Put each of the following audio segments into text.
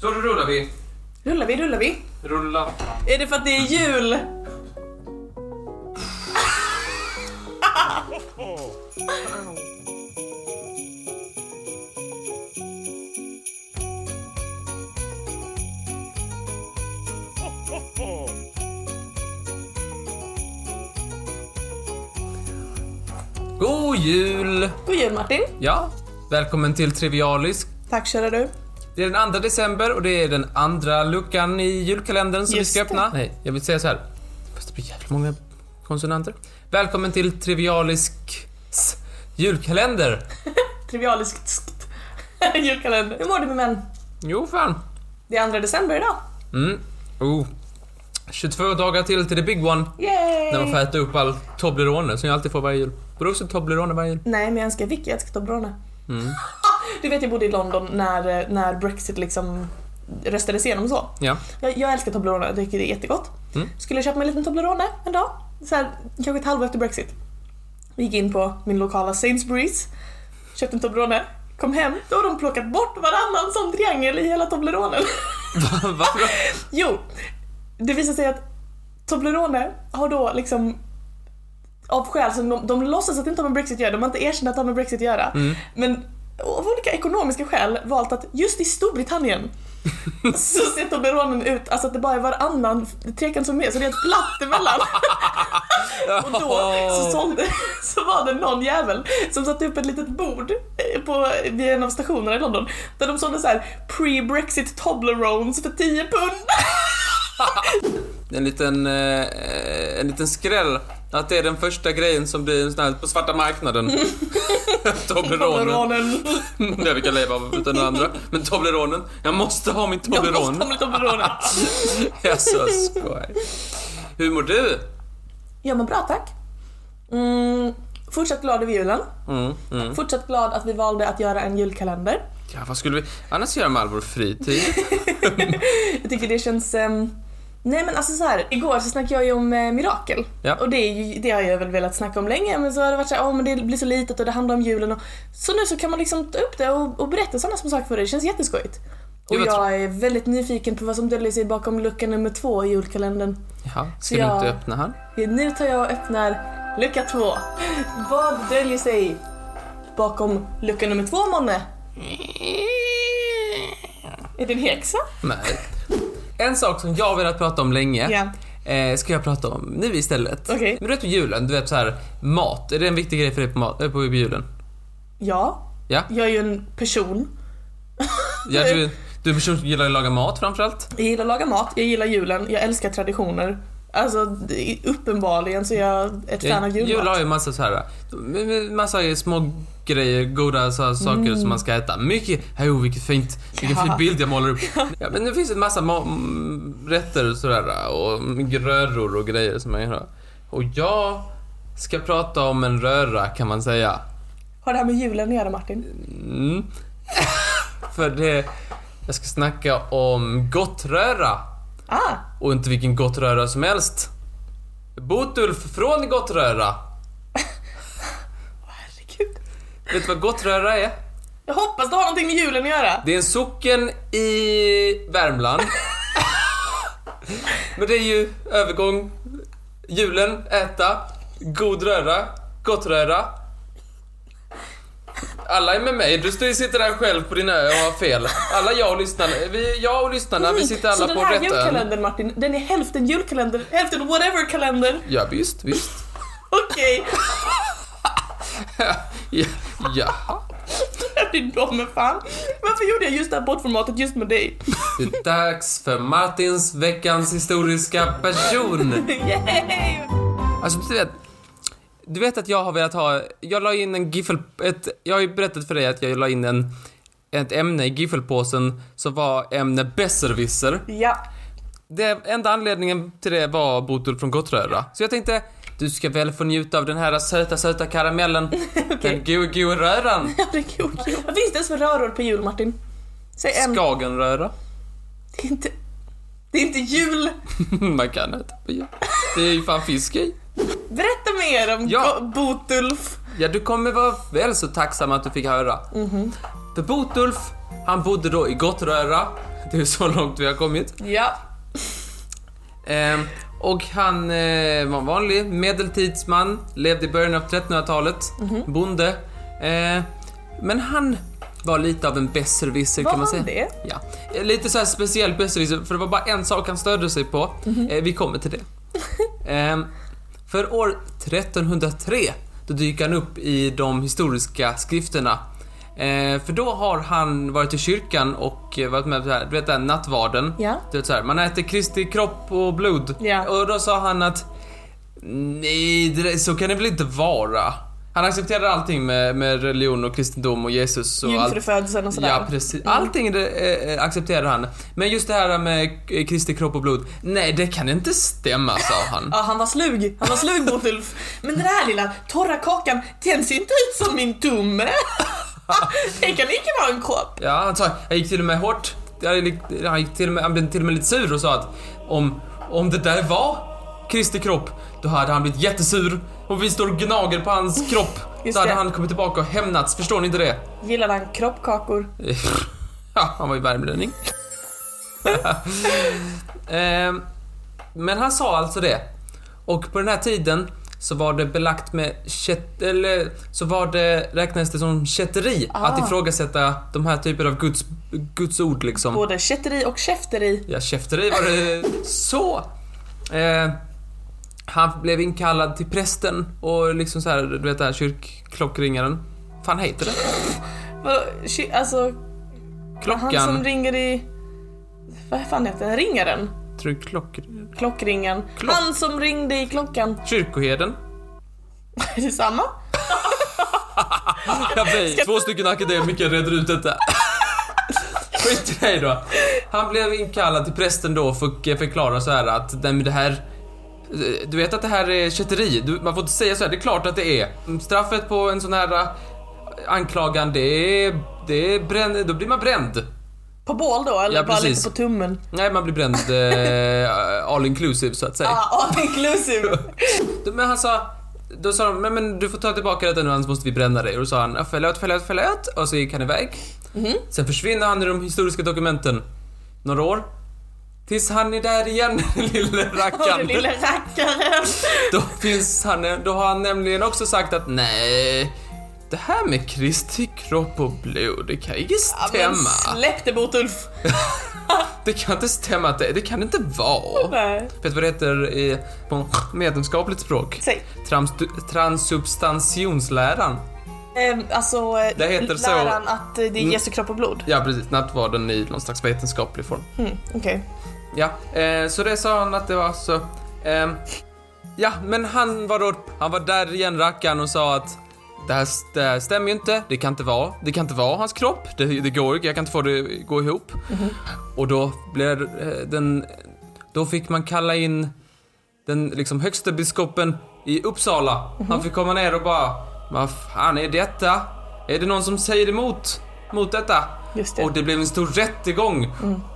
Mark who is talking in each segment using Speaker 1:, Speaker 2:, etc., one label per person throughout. Speaker 1: Så då rullar vi.
Speaker 2: Rullar vi, rullar vi.
Speaker 1: Rulla.
Speaker 2: Är det för att det är jul?
Speaker 1: God jul!
Speaker 2: God jul Martin.
Speaker 1: Ja, välkommen till Trivialisk.
Speaker 2: Tack kära du.
Speaker 1: Det är den 2 december och det är den andra luckan i julkalendern som
Speaker 2: Just
Speaker 1: vi
Speaker 2: det.
Speaker 1: ska öppna. Nej, jag vill säga så här. Fast det blir jävligt många konsonanter. Välkommen till Trivialisks julkalender.
Speaker 2: Trivialiskt skt. Julkalender. Hur mår du med män?
Speaker 1: Jo, fan.
Speaker 2: Det är 2 december idag.
Speaker 1: Mm. Oh. 22 dagar till till the big one.
Speaker 2: Yay!
Speaker 1: När man får äta upp all Toblerone som jag alltid får varje jul. Bruset Toblerone varje jul.
Speaker 2: Nej men jag önskar Vicky att jag ska ta Brone.
Speaker 1: Mm.
Speaker 2: du vet jag bodde i London när, eh, när Brexit liksom röstades igenom och så.
Speaker 1: Ja.
Speaker 2: Jag, jag älskar Toblerone, jag tycker det är jättegott.
Speaker 1: Mm.
Speaker 2: Skulle jag köpa mig en liten Toblerone en dag, så här, kanske ett halvår efter Brexit. Gick in på min lokala Sainsbury's, köpte en Toblerone, kom hem, då har de plockat bort varannan som triangel i hela Tobleronen.
Speaker 1: Varför då?
Speaker 2: jo, det visar sig att Toblerone har då liksom av skäl som de, de låtsas att det inte har med Brexit att göra, de har inte erkänt att det har med Brexit att göra.
Speaker 1: Mm.
Speaker 2: Men av olika ekonomiska skäl valt att just i Storbritannien så ser Tobleronen ut, alltså att det bara är varannan trekant som är med, så det är ett platt emellan. Och då så, sålde, så var det någon jävel som satte upp ett litet bord eh, på, vid en av stationerna i London där de sålde så här pre-Brexit Toblerones för 10 pund.
Speaker 1: En liten, eh, en liten skräll. Att det är den första grejen som blir en sån här på svarta marknaden. Toblerone.
Speaker 2: Tobleronen.
Speaker 1: Det vi kan leva av utan den andra. Men Tobleronen. Jag måste ha min
Speaker 2: Jag måste
Speaker 1: Toblerone.
Speaker 2: ha med Toblerone.
Speaker 1: Jag så skoj. Hur mår du?
Speaker 2: Ja men bra tack. Mm, fortsatt glad över julen.
Speaker 1: Mm, mm.
Speaker 2: Fortsatt glad att vi valde att göra en julkalender.
Speaker 1: Ja, vad skulle vi annars göra med all vår fritid?
Speaker 2: Jag tycker det känns... ehm, nej men alltså så här, igår så snackade jag ju om eh, mirakel.
Speaker 1: Ja.
Speaker 2: Och det, är ju, det har jag väl velat snacka om länge men så har det varit så här, "Åh, men det blir så litet och det handlar om julen och... Så nu så kan man liksom ta upp det och, och berätta sådana små saker för dig, det känns jätteskojigt. Och
Speaker 1: Jo, jag tror-
Speaker 2: jag är väldigt nyfiken på vad som döljer sig bakom lucka nummer två i julkalendern.
Speaker 1: Jaha, ska
Speaker 2: Ja.
Speaker 1: du inte öppna här?
Speaker 2: Nu tar jag och öppnar lucka två. Vad döljer sig bakom lucka nummer två, månne? Är det en häxa?
Speaker 1: Nej. En sak som jag har velat prata om länge.
Speaker 2: Ja.
Speaker 1: Eh, ska jag prata om nu istället.
Speaker 2: Okej.
Speaker 1: Men du vet på julen, du vet så här mat. Är det en viktig grej för dig på, mat, eh, på julen?
Speaker 2: Ja,
Speaker 1: Ja?
Speaker 2: jag är ju en person.
Speaker 1: ja du, du är en person som gillar att laga mat framförallt.
Speaker 2: Jag gillar att laga mat, jag gillar julen, jag älskar traditioner. Alltså det- uppenbarligen så är jag ett fan av julmat.
Speaker 1: Jul har ju massa så här, eh, massa små grejer, goda så här, saker som man ska äta. Mycket, jo vilket fint, vilken
Speaker 2: Ja.
Speaker 1: fin bild jag målar upp. Ja, men det finns en massa ma- m- rätter och sådär och gröror och grejer som man gör. Och jag ska prata om en röra kan man säga.
Speaker 2: Har det här med julen att göra Martin?
Speaker 1: Mm. För det... Jag ska snacka om gottröra.
Speaker 2: Ah,
Speaker 1: Och inte vilken gottröra som helst. Botulf från Gottröra.
Speaker 2: herregud.
Speaker 1: Vet du vad gottröra är?
Speaker 2: Jag hoppas det har någonting med julen att göra.
Speaker 1: Det är en socken i Värmland. Men det är ju övergång. Julen, äta, god röra, gottröra. Alla är med mig. Du står- sitter där själv på din ö och har fel. Alla jag och lyssnarna, vi, jag och lyssnarna, vi sitter
Speaker 2: Mm, så
Speaker 1: alla
Speaker 2: den
Speaker 1: på
Speaker 2: här
Speaker 1: rätt ö.
Speaker 2: julkalendern Martin, den är hälften julkalender, hälften whatever-kalender.
Speaker 1: Ja, visst, visst.
Speaker 2: Okej,
Speaker 1: Ja, jaha.
Speaker 2: det är dom men fan. Varför gjorde jag just det här poddformatet just med dig?
Speaker 1: Det är dags för Martins veckans historiska person.
Speaker 2: Yay!
Speaker 1: Alltså, du vet... Du vet att jag har velat ha... Jag la in en giffel... Ett, jag har ju berättat för dig att jag la in en, ett ämne i giffelpåsen som var ämne besserwisser.
Speaker 2: Ja,
Speaker 1: Det enda anledningen till det var Botul från Gottröra. Så jag tänkte, du ska väl få njuta av den här söta, söta karamellen. Den go, go röran.
Speaker 2: det är kul. Vad finns det ens för röror på jul Martin? Säg en.
Speaker 1: Skagenröra.
Speaker 2: Det är inte... Det är inte jul!
Speaker 1: Man kan äta på jul. Det är ju fan fisk i.
Speaker 2: Berätta mer om
Speaker 1: Ja.
Speaker 2: Go- Botulf.
Speaker 1: Ja, du kommer vara
Speaker 2: Mhm.
Speaker 1: väl så tacksam att du fick höra. För Botulf, han bodde då i Gottröra Det är så långt vi har kommit.
Speaker 2: Ja.
Speaker 1: Eh, och han eh, var en vanlig medeltidsman, levde i början av 1300-talet,
Speaker 2: Mhm.
Speaker 1: bonde. Eh, men han var lite av en besserwisser
Speaker 2: Var
Speaker 1: kan man
Speaker 2: han
Speaker 1: säga.
Speaker 2: det?
Speaker 1: Ja. Eh, Lite så här speciell besserwisser, för det var bara en sak han stödde sig på.
Speaker 2: Mhm.
Speaker 1: Eh, vi kommer till det. eh, för år 1303, då dyker han upp i de historiska skrifterna. Eh, för då har han varit i kyrkan och eh, varit med på det här, du vet den nattvarden.
Speaker 2: Ja.
Speaker 1: Du vet så här, man äter Kristi kropp och blod.
Speaker 2: Ja.
Speaker 1: Och då sa han att nej, det där, så kan det väl inte vara. Han accepterade allting med, med religion och kristendom och Jesus och allt.
Speaker 2: Jungfrufödseln och sådär.
Speaker 1: Ja,
Speaker 2: Mm.
Speaker 1: precis. Allting det, eh, accepterade han. Men just det här med eh, Kristi kropp och blod, nej det kan inte stämma sa han.
Speaker 2: Ja, han var slug. Han var slug mot Ulf. Men den här lilla torra kakan, den ser inte ut som min tumme. Den kan lika vara en kopp.
Speaker 1: Ja, han sa, jag gick till och med hårt. Jag- Han, gick till och med, han blev till och med lite sur och sa att om, om det där var Kristi kropp, då hade han blivit jättesur. Och vi står och gnager på hans kropp.
Speaker 2: Just
Speaker 1: Då hade
Speaker 2: det.
Speaker 1: han kommit tillbaka och hämnats, förstår ni inte det?
Speaker 2: Gillar han kroppkakor?
Speaker 1: ja, han var ju värmlänning. Ehm, men han sa alltså det. Och på den här tiden så var det belagt med kätt, eller så var det, räknades det som kätteri att
Speaker 2: Ah.
Speaker 1: ifrågasätta de här typer av guds, guds ord liksom.
Speaker 2: Både kätteri och käfteri.
Speaker 1: Ja, käfteri var det. Så! Eh, han blev inkallad till prästen och liksom så här, du vet det här kyrkklockringaren. Fan heter det?
Speaker 2: Vad- ky- Alltså, han
Speaker 1: Klockan?
Speaker 2: som ringer i... Vad fan heter den? Ringaren?
Speaker 1: Tror klock...
Speaker 2: Klockringen.
Speaker 1: Klock-
Speaker 2: Han som ringde i klockan.
Speaker 1: Kyrkoherden?
Speaker 2: Är det samma?
Speaker 1: Ja, vi, två stycken akademiker reder ut detta. Skit i dig då. Han blev inkallad till prästen då och fick förklara så här att nej men det här eh, du vet att det här är kätteri, Du- man får inte säga så här. det är klart att det är. Straffet på en sån här eh, anklagan det är, det är bränn, då blir man bränd.
Speaker 2: På bål då, eller
Speaker 1: Ja,
Speaker 2: bara
Speaker 1: precis.
Speaker 2: lite på tummen?
Speaker 1: Nej, man blir bränd eh, all inclusive så att säga.
Speaker 2: Ah, all inclusive.
Speaker 1: Men han sa, då sa de, men, men du får ta tillbaka detta nu annars måste vi bränna dig. Och då sa han, "Ja, förlåt, förlåt, förlåt. Och så gick han iväg. Sen försvinner han i de historiska dokumenten. Några år. Tills han är där igen, den lille
Speaker 2: Åh, den
Speaker 1: rackaren.
Speaker 2: lilla rackaren.
Speaker 1: Då finns han, då har han nämligen också sagt att nej, det här med Kristi kropp och blod, det kan inte
Speaker 2: Ja, men
Speaker 1: stämma.
Speaker 2: släpp det Botulf.
Speaker 1: Det kan inte stämma, att det, det kan det inte vara.
Speaker 2: Nej.
Speaker 1: Vet du vad det heter i, på vetenskapligt språk?
Speaker 2: Säg.
Speaker 1: Trans, transsubstantionsläran.
Speaker 2: Ehm, alltså, eh,
Speaker 1: Det heter så- Mm.
Speaker 2: läran att eh, det är Jesu kropp och blod.
Speaker 1: Ja precis, nattvarden i någon slags vetenskaplig form.
Speaker 2: Mm, Okej.
Speaker 1: Ja, eh, så det sa han att det var så. ehm, ja, men han var då, han var där igen rackaren och sa att det här, det här stämmer ju inte, det kan inte vara, det kan inte vara hans kropp, det, det går ju- jag kan inte få det att gå ihop. Och då blev eh, den, då fick man kalla in den liksom högste biskopen i Uppsala.
Speaker 2: Mhm.
Speaker 1: Han fick komma ner och bara, vad fan är detta? Är det någon som säger emot, mot detta?
Speaker 2: Just det. Mm.
Speaker 1: Och det blev en stor rättegång.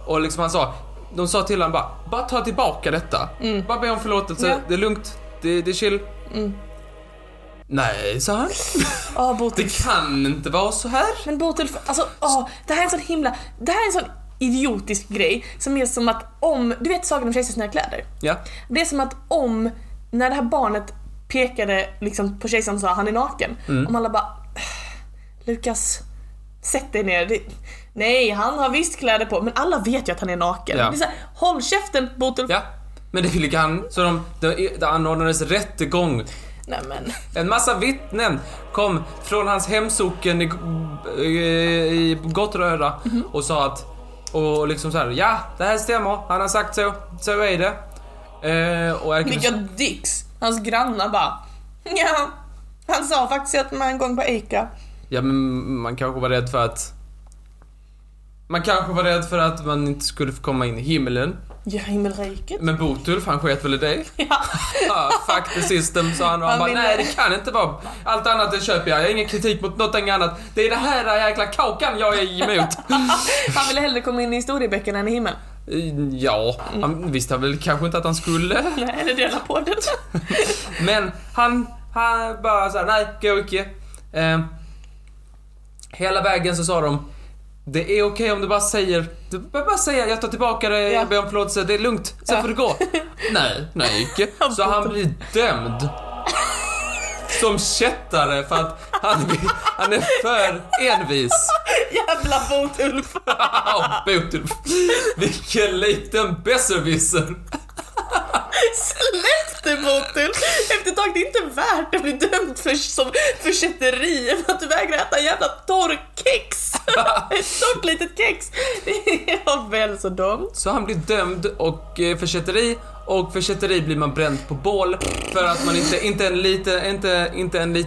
Speaker 1: Och liksom han sa, de sa till honom bara, bara ta tillbaka detta. Bara be om förlåtelse,
Speaker 2: Mm. Ja. Mm.
Speaker 1: det är lugnt, det, det är chill. Nej, sa han.
Speaker 2: Ja,
Speaker 1: Det
Speaker 2: Botulf.
Speaker 1: kan inte vara så här.
Speaker 2: Men Botulf, alltså åh, det här är en sån himla... Det här är en sån idiotisk grej som är som att om... Du vet Sagan om kejsarens nya kläder?
Speaker 1: Ja,
Speaker 2: Det är som att om, när det här barnet pekade liksom på kejsaren och sa han är naken.
Speaker 1: Mm.
Speaker 2: Om alla bara "Äh, Lukas, sätt dig ner. Det, nej, han har visst kläder på. Men alla vet ju att han är naken.
Speaker 1: Ja.
Speaker 2: Det är så här, Håll käften Botel.
Speaker 1: ja. Men det ville han, så de, de, det anordnades rättegång.
Speaker 2: Nej men.
Speaker 1: En massa vittnen kom från hans hemsocken i, i Gottröra och sa att, och liksom så här, ja, det här stämmer, han har sagt så, så är det. Eh, och ärkebiskop-
Speaker 2: Vilka dicks. Hans grannar bara. Ja, han sa faktiskt att man en gång på Ica.
Speaker 1: Ja, men man kanske var rädd för att... Man kanske var rädd för att man inte skulle få komma in i himlen.
Speaker 2: Ja, himmelriket.
Speaker 1: Men Botulf, han sket väl i det.
Speaker 2: Ja.
Speaker 1: Ja, fuck the system, sa han. Och han
Speaker 2: Han
Speaker 1: bara,
Speaker 2: ville-
Speaker 1: nej det kan inte vara... Allt annat det köper jag. Jag har ingen kritik mot något annat. Det är det här jäkla kakan jag är emot.
Speaker 2: Han ville hellre komma in i historieböckerna än i himlen.
Speaker 1: Eh, ja, han visste väl kanske inte att han skulle.
Speaker 2: Nej, eller dela på den.
Speaker 1: Men han, han Ehm, bara såhär, nej, går icke. Eh, hela vägen så sa de, Det är okej om du bara säger, du behöver bara säga jag tar tillbaka det,
Speaker 2: Ja.
Speaker 1: jag ber om förlåtelse, det är lugnt, sen
Speaker 2: Ja.
Speaker 1: får du gå. Nej, nej icke. Så han blir dömd. Som kättare för att han, blir- han är för envis.
Speaker 2: Jävla Botulf!
Speaker 1: Wow, Botulf. Vilken liten besserwisser.
Speaker 2: Släpp det Botulf! Efter ett tag, det är inte värt att bli dömd för, som, för kätteri för att du vägrar äta en jävla torrkex! ett stort litet kex! Det var väl så dumt.
Speaker 1: Så han blir dömd och eh, för kätteri och för kätteri blir man bränd på bål för att man inte, inte en liten, inte, inte en lit,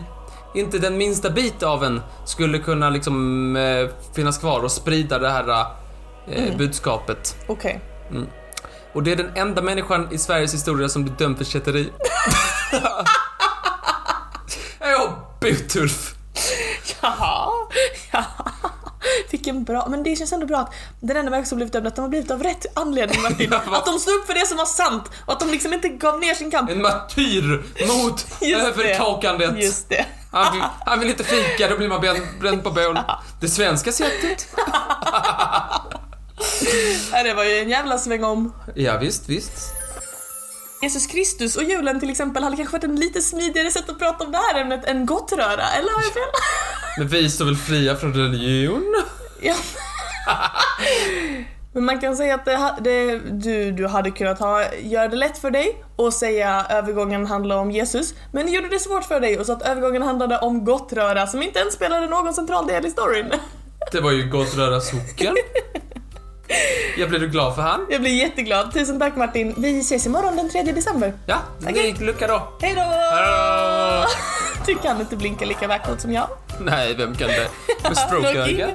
Speaker 1: inte den minsta bit av en skulle kunna liksom eh, finnas kvar och sprida det här eh,
Speaker 2: Mm.
Speaker 1: budskapet.
Speaker 2: Okej.
Speaker 1: Och det är den enda människan i Sveriges historia som blir dömd för kätteri. Åh, Butulf!
Speaker 2: Jaha, ja. Vilken bra, men det känns ändå bra att den enda människan som blivit dömd, att de har blivit av rätt anledning Martin.
Speaker 1: Ja, vad-
Speaker 2: Att de stod upp för det som var sant och att de liksom inte gav ner sin kamp.
Speaker 1: En martyr mot
Speaker 2: Just det.
Speaker 1: överkakandet.
Speaker 2: Just det.
Speaker 1: Han vill, han vill inte fika, då blir man bränd, bränd på bål. Det svenska sättet.
Speaker 2: Ja, Det var ju en jävla sväng om.
Speaker 1: Ja, visst, visst.
Speaker 2: Jesus Kristus och julen till exempel hade kanske varit en lite smidigare sätt att prata om det här ämnet än gottröra, eller har jag fel?
Speaker 1: Men vi står väl fria från religion?
Speaker 2: Ja. Men man kan säga att det, ha- det, du, du hade kunnat ha, göra det lätt för dig och säga övergången handlar om Jesus. Men ni gjorde det svårt för dig och så att övergången handlade om gottröra som inte ens spelade någon central del i storyn.
Speaker 1: Det var ju gott röra socken. Jag blev du glad för han?
Speaker 2: Jag blir jätteglad. Tusen tack Martin. Vi ses imorgon den 3 december.
Speaker 1: Ja,
Speaker 2: Okej.
Speaker 1: ny lucka då.
Speaker 2: Hej då!
Speaker 1: Hallå!
Speaker 2: Du kan inte blinka lika vackert som jag.
Speaker 1: Nej, vem kan det? Med
Speaker 2: Logi.
Speaker 1: strokeögat.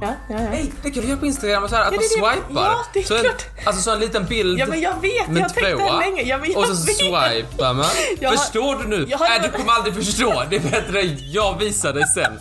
Speaker 2: Ja, ja, ja.
Speaker 1: Nej, det kan du göra på Instagram och så här, att
Speaker 2: Ja,
Speaker 1: man
Speaker 2: det är det jag-
Speaker 1: swipar.
Speaker 2: ja, det är
Speaker 1: så en,
Speaker 2: klart.
Speaker 1: Alltså så en liten bild.
Speaker 2: Ja men jag vet,
Speaker 1: med
Speaker 2: jag tänkte
Speaker 1: tvåa.
Speaker 2: länge. Ja, men jag
Speaker 1: Och så
Speaker 2: vet.
Speaker 1: swipar man.
Speaker 2: Jag har-
Speaker 1: Förstår du nu?
Speaker 2: jag har-
Speaker 1: Nej, du kommer aldrig förstå. Det är bättre jag visar dig sen.